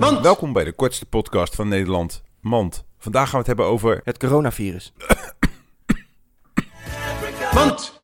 Mand. Welkom bij de kortste podcast van Nederland, Mand. Vandaag gaan we het hebben over Het coronavirus. Mand.